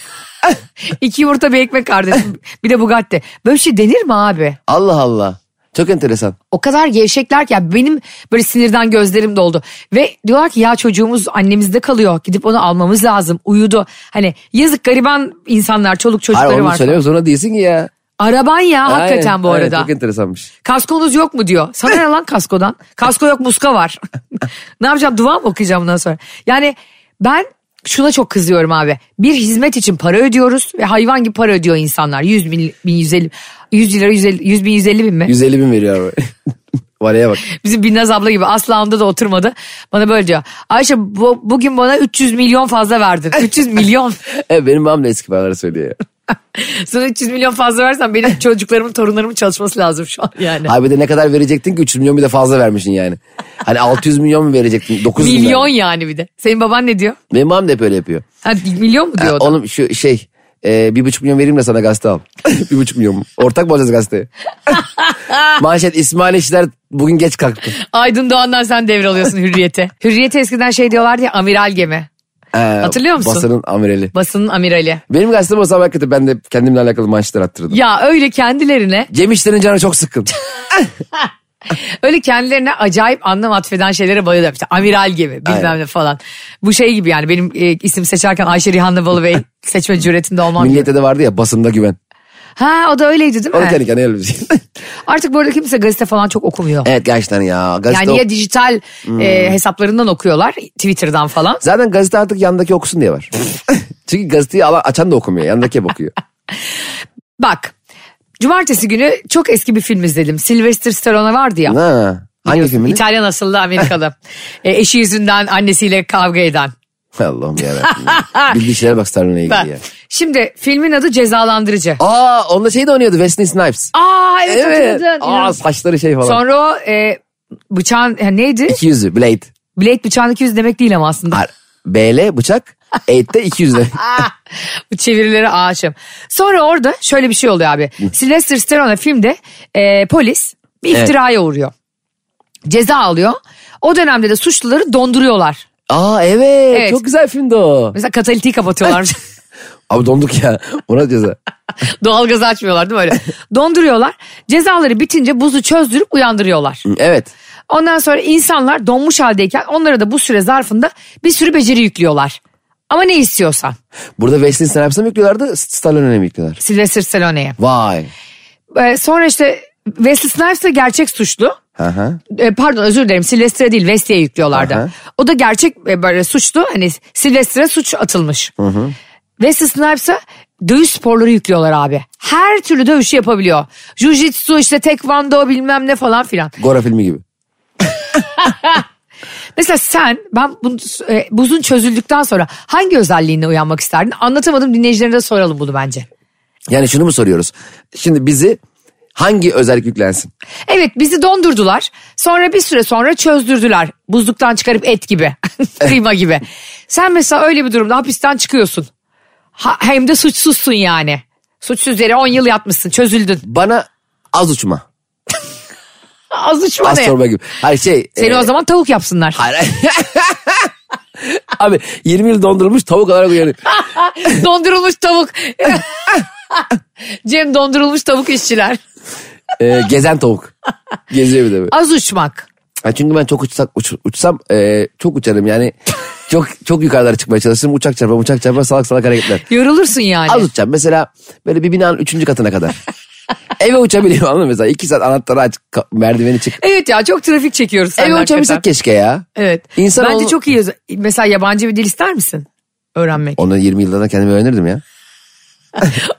B: İki yumurta bir ekmek kardeşim bir de Bugatti. Böyle bir şey denir mi abi?
C: Allah Allah. Çok enteresan.
B: O kadar gevşekler ki ya benim böyle sinirden gözlerim doldu. Ve diyorlar ki ya çocuğumuz annemizde kalıyor gidip onu almamız lazım uyudu. Hani yazık gariban insanlar çoluk çocukları
C: Hayır onu
B: var.
C: söylemek zorunda değilsin ki ya.
B: Araban ya hakikaten
C: Aynen,
B: bu
C: aynen,
B: arada.
C: çok enteresanmış.
B: Kaskonuz yok mu diyor. Sana ne lan kaskodan? Kasko yok muska var. ne yapacağım dua mı okuyacağım bundan sonra? Yani ben şuna çok kızıyorum abi. Bir hizmet için para ödüyoruz ve hayvan gibi para ödüyor insanlar. 100 bin, bin 150, 100 lira 150, 100 bin 150 bin mi?
C: 150 bin veriyor araba. Valeye bak.
B: Bizim Binnaz abla gibi asla onda da oturmadı. Bana böyle diyor. Ayşe bu, bugün bana 300 milyon fazla verdin. 300 milyon.
C: E, benim babam da eski paraları söylüyor ya.
B: Sana 300 milyon fazla versen benim çocuklarımın torunlarımın çalışması lazım şu an yani.
C: Abi de ne kadar verecektin ki 300 milyon bir de fazla vermişsin yani. Hani 600 milyon mu verecektin? 900 milyon.
B: Milyon yani bir de. Senin baban ne diyor?
C: Benim babam da hep öyle yapıyor.
B: Ha, milyon mu diyor o da?
C: Oğlum şu şey e, bir buçuk milyon vereyim de sana gazete al. bir buçuk milyon mu? Ortak mı alacağız gazeteyi? Manşet İsmail İşler bugün geç kalktı.
B: Aydın Doğan'dan sen devralıyorsun hürriyete. hürriyete eskiden şey diyorlardı ya amiral gemi.
C: Ee,
B: Hatırlıyor musun?
C: Basının amirali.
B: Basının amirali.
C: Benim gazetem o zaman hakikaten ben de kendimle alakalı manşetler attırdım.
B: Ya öyle kendilerine,
C: Cem İşler'in canı çok sıkkın.
B: öyle kendilerine acayip anlam atfeden şeylere bayılıyorum. İşte amiral gemi bilmem
C: Aynen.
B: ne falan. Bu şey gibi yani benim e, isim seçerken Ayşe Rihanna Balıbey seçme cüretinde olmam gibi.
C: Millete de vardı ya basında güven.
B: Ha o da öyleydi değil
C: Onu
B: mi?
C: kendi kendine yazmış.
B: Artık bu arada kimse gazete falan çok okumuyor.
C: evet gerçekten ya. Gazete
B: Yani
C: o-
B: ya dijital e, hesaplarından okuyorlar Twitter'dan falan.
C: Zaten gazete artık yandaki okusun diye var. Çünkü gazeteyi alan, açan da okumuyor. Yandaki hep okuyor.
B: Bak cumartesi günü çok eski bir film izledim. Sylvester Stallone vardı ya.
C: ha, hangi
B: Biliyorsun,
C: filmini?
B: İtalyan asıllı Amerikalı. E, eşi yüzünden annesiyle kavga eden.
C: Allah'ım yarabbim. ya. Bildiği şeylere bak Starlin'e
B: Ben-
C: ilgili ya.
B: Şimdi filmin adı Cezalandırıcı.
C: Aa onda şey de oynuyordu Wesley Snipes.
B: Aa evet, hatırladın.
C: Aa saçları şey falan.
B: Sonra o e, bıçağın ha, neydi?
C: İki yüzü Blade.
B: Blade bıçağın 200 demek değil ama aslında.
C: Ar- BL bıçak. Eight'te iki yüzü.
B: Bu çevirileri aşığım. Sonra orada şöyle bir şey oluyor abi. Sylvester Stallone filmde e, polis bir
C: Evet.
B: iftiraya uğruyor. Ceza alıyor. O dönemde de suçluları donduruyorlar.
C: Aa evet,
B: Evet.
C: Çok güzel filmdi o.
B: Mesela katalitiği kapatıyorlarmış.
C: Abi donduk ya. Ona ceza.
B: Doğalgazı açmıyorlar değil mi öyle? Donduruyorlar. Cezaları bitince buzu çözdürüp uyandırıyorlar.
C: Evet.
B: Ondan sonra insanlar donmuş haldeyken onlara da bu süre zarfında bir sürü beceri yüklüyorlar. Ama ne istiyorsan.
C: Burada Wesley Snipes'e mi yüklüyorlardı? Stallone'e mi yüklüyorlar?
B: Sylvester Stallone'ye.
C: Vay.
B: Ee, sonra işte Wesley Snipes de gerçek suçlu.
C: Hı hı.
B: Ee, pardon özür dilerim Sylvester'e değil Wesley'e yüklüyorlardı.
C: Aha.
B: O da gerçek e, böyle suçlu. Hani Sylvester'e suç atılmış. Wesley Snipes'a dövüş sporları yüklüyorlar abi. Her türlü dövüşü yapabiliyor. Jiu-jitsu işte tekvando bilmem ne falan filan.
C: Gora filmi gibi.
B: Mesela sen ben bu, e, buzun çözüldükten sonra hangi özelliğine uyanmak isterdin? Anlatamadım dinleyicilerine de soralım bunu bence.
C: Yani şunu mu soruyoruz? Şimdi bizi hangi özellik yüklensin?
B: Evet bizi dondurdular. Sonra bir süre sonra çözdürdüler. Buzluktan çıkarıp et gibi. Kıyma gibi. Sen mesela öyle bir durumda hapisten çıkıyorsun. Ha- hem de suçsuzsun yani. Suçsuz yere 10 yıl yatmışsın çözüldün.
C: Bana az uçma.
B: Az uçma
C: Az
B: ne?
C: sorma gibi. Hayır şey.
B: Seni
C: e,
B: o zaman tavuk yapsınlar.
C: Abi 20 yıl dondurulmuş tavuk olarak uyanıyor.
B: dondurulmuş tavuk. Cem dondurulmuş tavuk işçiler.
C: E, gezen tavuk. Geziyor bir de böyle.
B: Az uçmak.
C: Ha, çünkü ben çok uçsak, uç- uçsam e, çok uçarım yani. çok çok yukarılara çıkmaya çalışırım. Uçak çarpar uçak çarpar salak salak hareketler.
B: Yorulursun yani.
C: Az uçacağım mesela böyle bir binanın üçüncü katına kadar. Eve uçabiliyorum anladın mı? Mesela iki saat anahtarı aç ka- merdiveni çık.
B: Evet ya çok trafik çekiyoruz seninle
C: Eve uçabilsek
B: hakikaten.
C: keşke ya.
B: Evet.
C: İnsan
B: Bence
C: ol-
B: çok iyi. Mesela yabancı bir dil ister misin? Öğrenmek.
C: Onu 20 yıldan da kendimi öğrenirdim ya.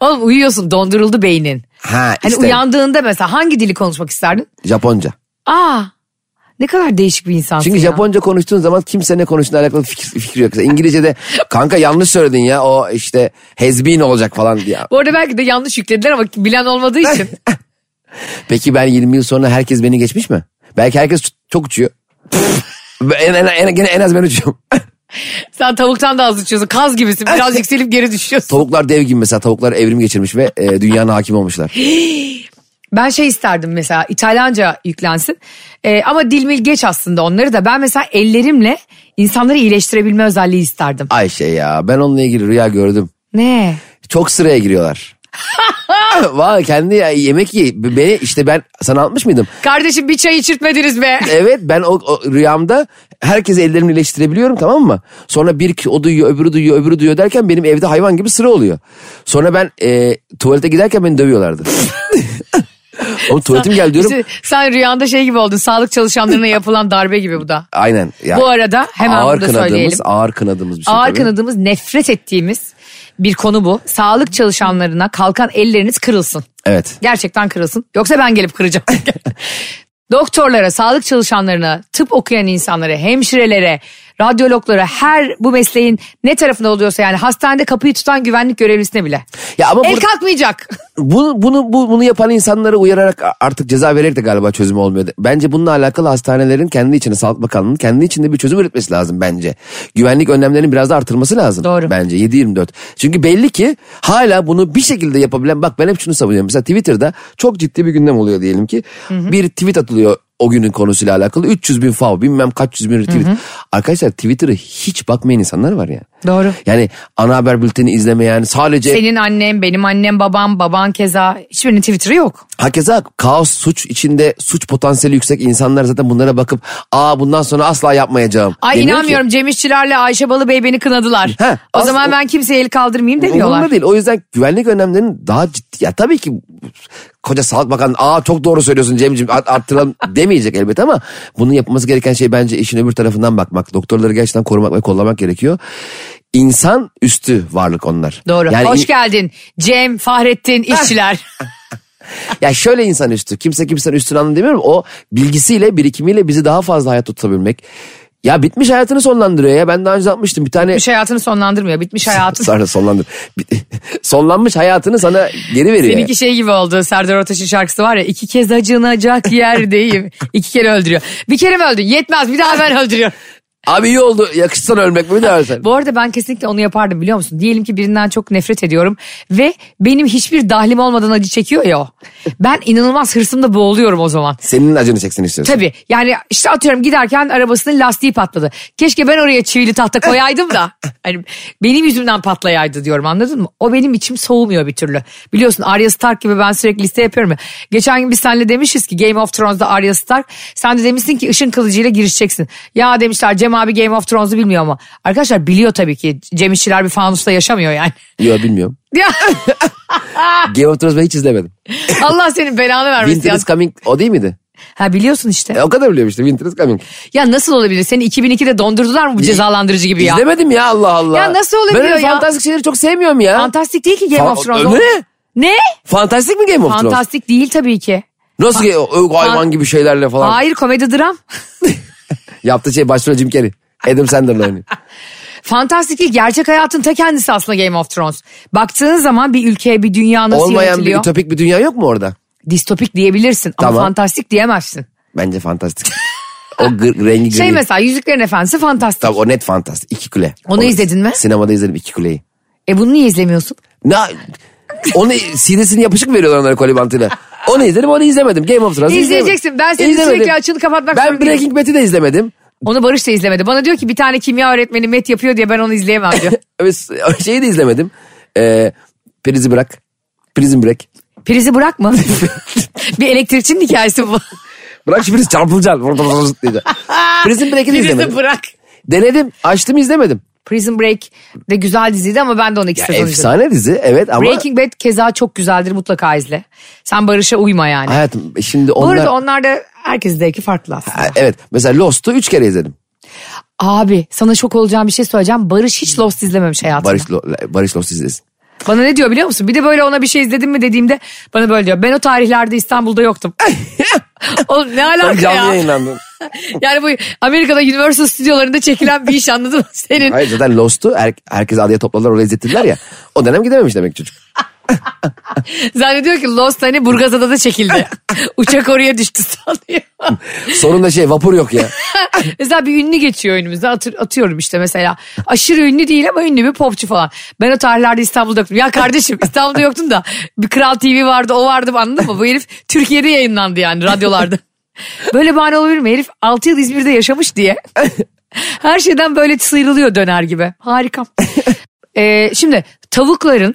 B: Oğlum uyuyorsun donduruldu beynin.
C: Ha
B: Hani
C: işte
B: uyandığında mesela hangi dili konuşmak isterdin?
C: Japonca.
B: Aa ne kadar değişik bir insansın
C: Çünkü
B: ya.
C: Japonca konuştuğun zaman kimsenin ne konuştuğuna alakalı fikir, fikri yok. Mesela İngilizce'de kanka yanlış söyledin ya o işte has been olacak falan diye.
B: Bu arada belki de yanlış yüklediler ama bilen olmadığı için.
C: Peki ben 20 yıl sonra herkes beni geçmiş mi? Belki herkes ç- çok uçuyor. en, en, en, gene en az ben uçuyorum.
B: Sen tavuktan da az uçuyorsun. Kaz gibisin. Biraz yükselip geri düşüyorsun.
C: Tavuklar dev gibi mesela tavuklar evrim geçirmiş ve e, dünyanın hakim olmuşlar.
B: Ben şey isterdim mesela İtalyanca yüklensin. Ee, ama dil mil geç aslında onları da. Ben mesela ellerimle insanları iyileştirebilme özelliği isterdim.
C: Ayşe ya ben onunla ilgili rüya gördüm.
B: Ne?
C: Çok sıraya giriyorlar. Valla kendi ya- yemek ye. B- Beni işte ben sana atmış mıydım?
B: Kardeşim bir çay içirtmediniz be.
C: Evet ben o, o rüyamda herkesi ellerimle iyileştirebiliyorum tamam mı? Sonra bir ki- o duyuyor öbürü duyuyor öbürü duyuyor derken benim evde hayvan gibi sıra oluyor. Sonra ben e, tuvalete giderken beni dövüyorlardı. Oğlum tuvaletim geldi diyorum.
B: İşte sen rüyanda şey gibi oldun. Sağlık çalışanlarına yapılan darbe gibi bu da.
C: Aynen. ya.
B: Bu arada hemen
C: ağır
B: bunu da
C: kınadığımız,
B: söyleyelim.
C: Ağır kınadığımız bir şey
B: Ağır
C: tabii.
B: kınadığımız, nefret ettiğimiz bir konu bu. Sağlık çalışanlarına kalkan elleriniz kırılsın.
C: Evet.
B: Gerçekten kırılsın. Yoksa ben gelip kıracağım. Doktorlara, sağlık çalışanlarına, tıp okuyan insanlara, hemşirelere, radyologlara, her bu mesleğin ne tarafında oluyorsa yani hastanede kapıyı tutan güvenlik görevlisine bile.
C: Ya ama
B: El
C: burada-
B: kalkmayacak.
C: Bunu, bunu, bu- bunu yapan insanları uyararak a- artık ceza vererek de galiba çözüm olmuyor. Bence bununla alakalı hastanelerin kendi içinde Sağlık Bakanlığı'nın kendi içinde bir çözüm üretmesi lazım bence. Güvenlik önlemlerinin biraz da artırması lazım.
B: Doğru.
C: Bence 7-24. Çünkü belli ki hala bunu bir şekilde yapabilen bak ben hep şunu savunuyorum. Mesela Twitter'da çok ciddi bir gündem oluyor diyelim ki. Bir tweet atılıyor o günün konusuyla alakalı. 300 bin fav bilmem kaç yüz bin retweet. Arkadaşlar Twitter'a hiç bakmayan insanlar var yani.
B: Doğru.
C: Yani ana haber bülteni izlemeyen sadece...
B: Senin annem, benim annem, babam, baban keza. Hiçbirinin Twitter'ı yok.
C: Hakeza kaos suç içinde suç potansiyeli yüksek insanlar zaten bunlara bakıp aa bundan sonra asla yapmayacağım.
B: Ay
C: demiyor
B: inanmıyorum Cem İşçilerle Ayşe Balıbey beni kınadılar.
C: He,
B: o
C: az-
B: zaman ben kimseye el kaldırmayayım
C: Ki. Umurumda
B: demiyorlar.
C: değil. O yüzden güvenlik önlemlerinin daha ciddi. Ya tabii ki koca sağlık bakanı aa çok doğru söylüyorsun Cem'ciğim art- arttıralım demeyecek elbet ama bunun yapılması gereken şey bence işin öbür tarafından bakmak. Doktorları gerçekten korumak ve kollamak gerekiyor. İnsan üstü varlık onlar.
B: Doğru.
C: Yani
B: Hoş geldin Cem, Fahrettin, işçiler.
C: Ya şöyle insan üstü. Kimse kimsenin üstünü anlamı demiyorum. O bilgisiyle, birikimiyle bizi daha fazla hayatta tutabilmek. Ya bitmiş hayatını sonlandırıyor ya. Ben daha önce atmıştım bir tane...
B: Bitmiş hayatını sonlandırmıyor. Bitmiş hayatın.
C: Sonra sonlandır. Bi- Sonlanmış hayatını sana geri veriyor.
B: Seninki şey gibi oldu. Serdar Ortaç'ın şarkısı var ya. iki kez acınacak yerdeyim. İki kere öldürüyor. Bir kere mi öldün? Yetmez bir daha ben öldürüyorum.
C: Abi iyi oldu. Yakışsan ölmek mi dersen.
B: Bu arada ben kesinlikle onu yapardım biliyor musun? Diyelim ki birinden çok nefret ediyorum. Ve benim hiçbir dahlim olmadan acı çekiyor ya o. Ben inanılmaz hırsımda boğuluyorum o zaman.
C: Senin acını çeksin istiyorsun.
B: Tabii yani işte atıyorum giderken arabasının lastiği patladı. Keşke ben oraya çivili tahta koyaydım da. Hani benim yüzümden patlayaydı diyorum anladın mı? O benim içim soğumuyor bir türlü. Biliyorsun Arya Stark gibi ben sürekli liste yapıyorum ya. Geçen gün biz seninle demişiz ki Game of Thrones'da Arya Stark. Sen de demişsin ki ışın kılıcıyla girişeceksin. Ya demişler Cem abi Game of Thrones'u bilmiyor ama. Arkadaşlar biliyor tabii ki. Cem İşçiler bir fanusta yaşamıyor yani.
C: Yok bilmiyorum.
B: Ya,
C: Game of Thrones ben hiç izlemedim.
B: Allah senin belanı vermesin.
C: Winter
B: ya.
C: is Coming o değil miydi?
B: Ha biliyorsun işte.
C: E, o kadar biliyorum işte Winter is Coming.
B: Ya nasıl olabilir? Seni 2002'de dondurdular mı bu cezalandırıcı gibi ya?
C: İzlemedim ya Allah Allah.
B: Ya nasıl olabiliyor
C: ben öyle
B: ya?
C: fantastik şeyleri çok sevmiyorum ya.
B: Fantastik değil ki Game
C: Fa-
B: of Thrones.
C: Ne?
B: Ne?
C: Fantastik mi Game of Thrones?
B: Fantastik değil tabii ki.
C: Nasıl ge- ö- hayvan gibi şeylerle falan.
B: Hayır komedi dram.
C: Yaptığı şey başrol Jim Carrey. Adam Sandler'la oynuyor.
B: Fantastik değil. Gerçek hayatın ta kendisi aslında Game of Thrones. Baktığın zaman bir ülkeye bir dünya nasıl
C: Olmayan bir
B: yönetiliyor.
C: ütopik bir dünya yok mu orada?
B: Distopik diyebilirsin ama
C: Tamam.
B: fantastik diyemezsin.
C: Bence fantastik. o gır- rengi gri.
B: Şey mesela Yüzüklerin Efendisi fantastik.
C: Tabii o net fantastik. İki kule.
B: Onu
C: O-
B: izledin mi?
C: Sinemada izledim iki kuleyi.
B: E bunu niye izlemiyorsun?
C: Ne? Onu CD'sini yapışık mı veriyorlar onlara kolibantıyla. Onu izledim onu izlemedim. Game of Thrones'u izlemedim.
B: İzleyeceksin. Ben senin
C: İzlemedim.
B: sürekli açığını kapatmak
C: Ben
B: zorundayım.
C: Breaking Bad'i de izlemedim.
B: Onu Barış da izlemedi. Bana diyor ki bir tane kimya öğretmeni met yapıyor diye ben onu izleyemem diyor.
C: Öyle s- Şeyi de izlemedim. Ee, prizi bırak. Prison Break.
B: Prizi bırakma. bir elektrikçinin hikayesi bu.
C: Bırak şu priz çarpılacaksın. Vur, vur, vur, vur diyeceksin. Prison Break'i de izlemedim.
B: Prizi bırak.
C: Denedim. Açtım izlemedim.
B: Prison Break de güzel diziydi ama ben de onu iki
C: Ya,
B: sezon izledim.
C: efsane dizi evet ama
B: Breaking Bad keza çok güzeldir mutlaka izle. Sen Barış'a uyma yani.
C: hayatım e, şimdi
B: Bu
C: onlar...
B: arada onlar da herkesin zevki farklı aslında.
C: Ha, Evet mesela Lost'u 3 kere izledim.
B: Abi sana şok olacağım bir şey söyleyeceğim. Barış hiç Lost izlememiş hayatında.
C: Barış, Lo, Barış Lost izlesin.
B: Bana ne diyor biliyor musun? Bir de böyle ona bir şey izledin mi dediğimde bana böyle diyor. Ben o tarihlerde İstanbul'da yoktum. Oğlum ne
C: Sen
B: alaka
C: canlı
B: ya?
C: yayınlandın.
B: Yani bu Amerika'da Universal stüdyolarında çekilen bir iş anladın mı? Senin
C: Hayır zaten Lost'u her, herkes adaya topladılar oraya izlettiler ya. O dönem gidememiş demek ki çocuk.
B: zannediyor ki Lost hani Burgazada'da çekildi. Uçak oraya düştü sanıyor.
C: Sorun da şey vapur yok ya.
B: Mesela bir ünlü geçiyor önümüzde Atır- atıyorum işte mesela. Aşırı ünlü değil ama ünlü bir popçu falan. Ben o tarihlerde İstanbul'da yoktum. Ya kardeşim İstanbul'da yoktun da bir Kral TV vardı o vardı anladın mı? Bu herif Türkiye'de yayınlandı yani radyolarda. Böyle bahane olabilir mi? Herif 6 yıl İzmir'de yaşamış diye. Her şeyden böyle sıyrılıyor döner gibi. Harika. Ee, şimdi tavukların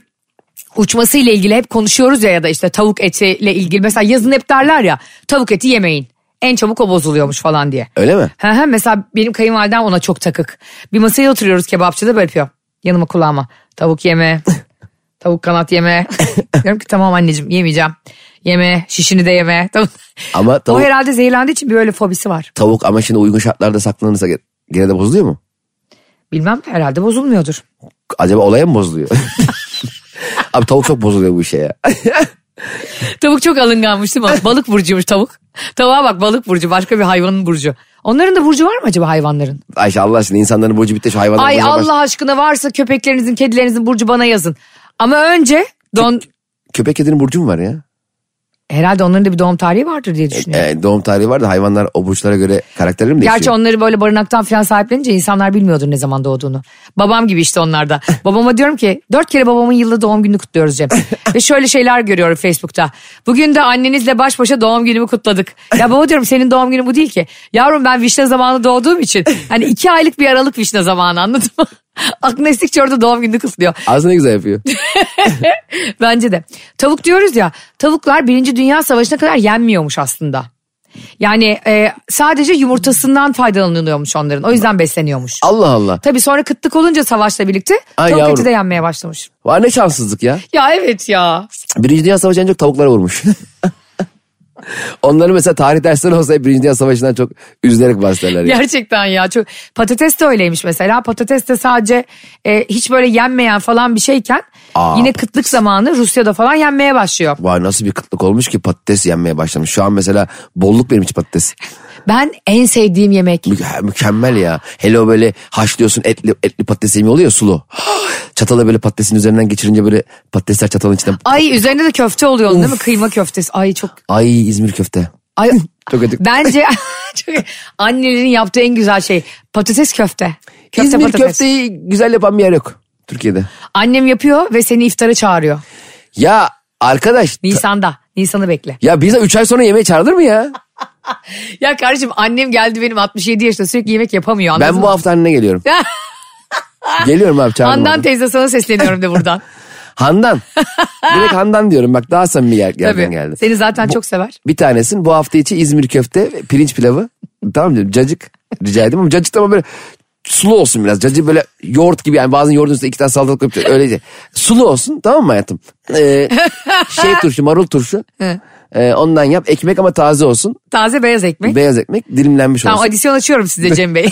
B: uçmasıyla ilgili hep konuşuyoruz ya ya da işte tavuk etiyle ilgili. Mesela yazın hep derler ya tavuk eti yemeyin. En çabuk o bozuluyormuş falan diye.
C: Öyle mi?
B: Hı hı mesela benim kayınvalidem ona çok takık. Bir masaya oturuyoruz kebapçıda böyle yapıyor. Yanıma kulağıma. Tavuk yeme. tavuk kanat yeme. Diyorum ki tamam anneciğim yemeyeceğim. Yeme şişini de yeme. Tamam.
C: Ama
B: O
C: tavuk,
B: herhalde zehirlendiği için bir öyle fobisi var.
C: tavuk ama şimdi uygun şartlarda saklanırsa ge- gene de bozuluyor mu?
B: Bilmem herhalde bozulmuyordur.
C: Acaba olaya mı bozuluyor? Abi tavuk çok bozuluyor bu işe ya.
B: Tavuk çok alınganmış değil mi? Balık burcuymuş tavuk. Tavuğa bak balık burcu başka bir hayvanın burcu. Onların da burcu var mı acaba hayvanların?
C: Ayşe Allah aşkına insanların burcu bitti şu hayvanlar.
B: Ay
C: burcuna baş-
B: Allah aşkına varsa köpeklerinizin kedilerinizin burcu bana yazın. Ama önce don...
C: Köpek kedinin burcu mu var ya?
B: Herhalde onların da bir doğum tarihi vardır diye düşünüyorum.
C: Ee, doğum tarihi var da hayvanlar o burçlara göre karakterleri mi değişiyor?
B: Gerçi onları böyle barınaktan falan sahiplenince insanlar bilmiyordur ne zaman doğduğunu. Babam gibi işte onlar da. Babama diyorum ki dört kere babamın yılda doğum gününü kutluyoruz Cem. Ve şöyle şeyler görüyorum Facebook'ta. Bugün de annenizle baş başa doğum günümü kutladık. Ya baba diyorum senin doğum günün bu değil ki. Yavrum ben vişne zamanı doğduğum için. Hani iki aylık bir aralık vişne zamanı anladın mı? Aklına estikçe orada doğum gününü kutluyor.
C: Aslında ne güzel yapıyor.
B: Bence de. Tavuk diyoruz ya tavuklar Birinci Dünya Savaşı'na kadar yenmiyormuş aslında. Yani e, sadece yumurtasından faydalanılıyormuş onların. O yüzden besleniyormuş.
C: Allah Allah.
B: Tabii sonra kıtlık olunca savaşla birlikte
C: Ay
B: tavuk eti
C: yavrum.
B: de yenmeye başlamış.
C: Var ne şanssızlık ya.
B: Ya evet ya.
C: Birinci Dünya Savaşı en çok tavuklara vurmuş. Onları mesela tarih dersleri olsa hep Birinci Dünya Savaşı'ndan çok üzülerek bahsederler. ya.
B: Gerçekten ya. Çok, patates de öyleymiş mesela. Patates de sadece e, hiç böyle yenmeyen falan bir şeyken
C: Aa,
B: yine kıtlık zamanı Rusya'da falan yenmeye başlıyor.
C: Vay nasıl bir kıtlık olmuş ki patates yenmeye başlamış. Şu an mesela bolluk benim için patates.
B: Ben en sevdiğim yemek.
C: Mü- mükemmel ya. Hele o böyle haşlıyorsun etli, etli patates yemeği oluyor ya, sulu. Çatala böyle patatesin üzerinden geçirince böyle patatesler çatalın içinden.
B: Ay üzerinde de köfte oluyor onun değil mi? Kıyma köftesi. Ay çok.
C: Ay İzmir köfte.
B: Ay,
C: Çok acık.
B: Bence çok, annelerin yaptığı en güzel şey patates köfte. Köfte
C: İzmir
B: patates.
C: köfteyi güzel yapan bir yer yok Türkiye'de.
B: Annem yapıyor ve seni iftara çağırıyor.
C: Ya arkadaş
B: Nisan'da. Nisan'ı bekle.
C: ya bize 3 ay sonra yemeğe çağırılır mı ya?
B: Ya kardeşim annem geldi benim 67 yaşında sürekli yemek yapamıyor anladın
C: Ben
B: mı?
C: bu hafta annene geliyorum. geliyorum abi çağırdım.
B: Handan
C: onu.
B: teyze sana sesleniyorum de buradan.
C: Handan. Direkt Handan diyorum bak daha samimi yer, yerden
B: Tabii.
C: geldi.
B: Seni zaten çok sever.
C: Bir tanesin bu hafta içi İzmir köfte, pirinç pilavı. Tamam dedim cacık rica ettim ama cacık da ama böyle sulu olsun biraz. Cacık böyle yoğurt gibi yani bazen yoğurdun üstüne iki tane salatalık koyup öyle değil. Sulu olsun tamam mı hayatım? Ee, şey turşu marul turşu. E, ondan yap. Ekmek ama taze olsun.
B: Taze beyaz ekmek.
C: Beyaz ekmek dilimlenmiş
B: Tamam
C: olsun.
B: adisyon açıyorum size Cem Bey.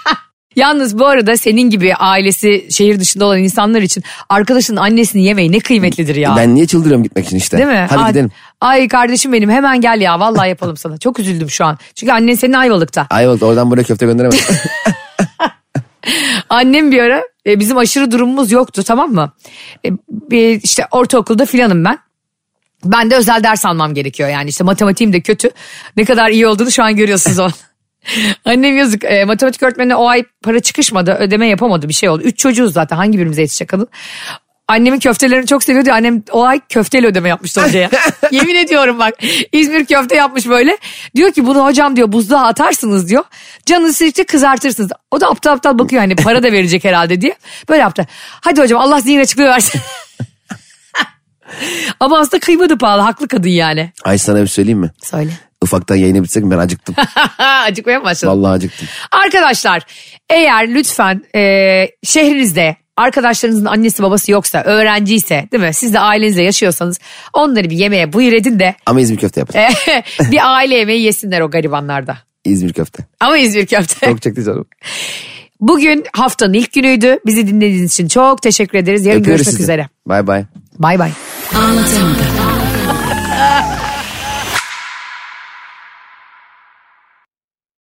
B: Yalnız bu arada senin gibi ailesi şehir dışında olan insanlar için arkadaşın annesini yemeği ne kıymetlidir ya.
C: Ben niye çıldırıyorum gitmek için işte.
B: Değil mi?
C: Hadi
B: Ay-
C: gidelim.
B: Ay kardeşim benim hemen gel ya vallahi yapalım sana. Çok üzüldüm şu an. Çünkü annen senin Ayvalık'ta.
C: Ayvalık oradan buraya köfte gönderemez.
B: Annem bir ara e, bizim aşırı durumumuz yoktu tamam mı? E, bir- işte ortaokulda filanım ben. Ben de özel ders almam gerekiyor yani işte matematiğim de kötü. Ne kadar iyi olduğunu şu an görüyorsunuz onu. Annem yazık e, matematik öğretmenine o ay para çıkışmadı ödeme yapamadı bir şey oldu. Üç çocuğuz zaten hangi birimize yetişecek kadın. Annemin köftelerini çok seviyordu. Annem o ay köfteyle ödeme yapmıştı hocaya. Yemin ediyorum bak İzmir köfte yapmış böyle. Diyor ki bunu hocam diyor buzluğa atarsınız diyor. Canınız sıkıştı kızartırsınız. O da aptal aptal bakıyor hani para da verecek herhalde diye. Böyle yaptı. Hadi hocam Allah zihin açıklığı versin. Ama aslında kıyma da pahalı haklı kadın yani.
C: Ay sana bir söyleyeyim mi?
B: Söyle.
C: Ufaktan yayına bitsek mi? ben acıktım.
B: Acıkmaya mı başladın?
C: Vallahi acıktım.
B: Arkadaşlar eğer lütfen e, şehrinizde arkadaşlarınızın annesi babası yoksa öğrenciyse değil mi siz de ailenizle yaşıyorsanız onları bir yemeğe buyur edin de
C: Ama İzmir köfte yapalım.
B: e, bir aile yemeği yesinler o garibanlarda.
C: İzmir köfte.
B: Ama İzmir köfte.
C: Çok çekti canım.
B: Bugün haftanın ilk günüydü. Bizi dinlediğiniz için çok teşekkür ederiz. Yarın
C: Öpüyoruz
B: görüşmek
C: sizi.
B: üzere.
C: Bay bay.
B: Bay bay.
D: Anlatamadım.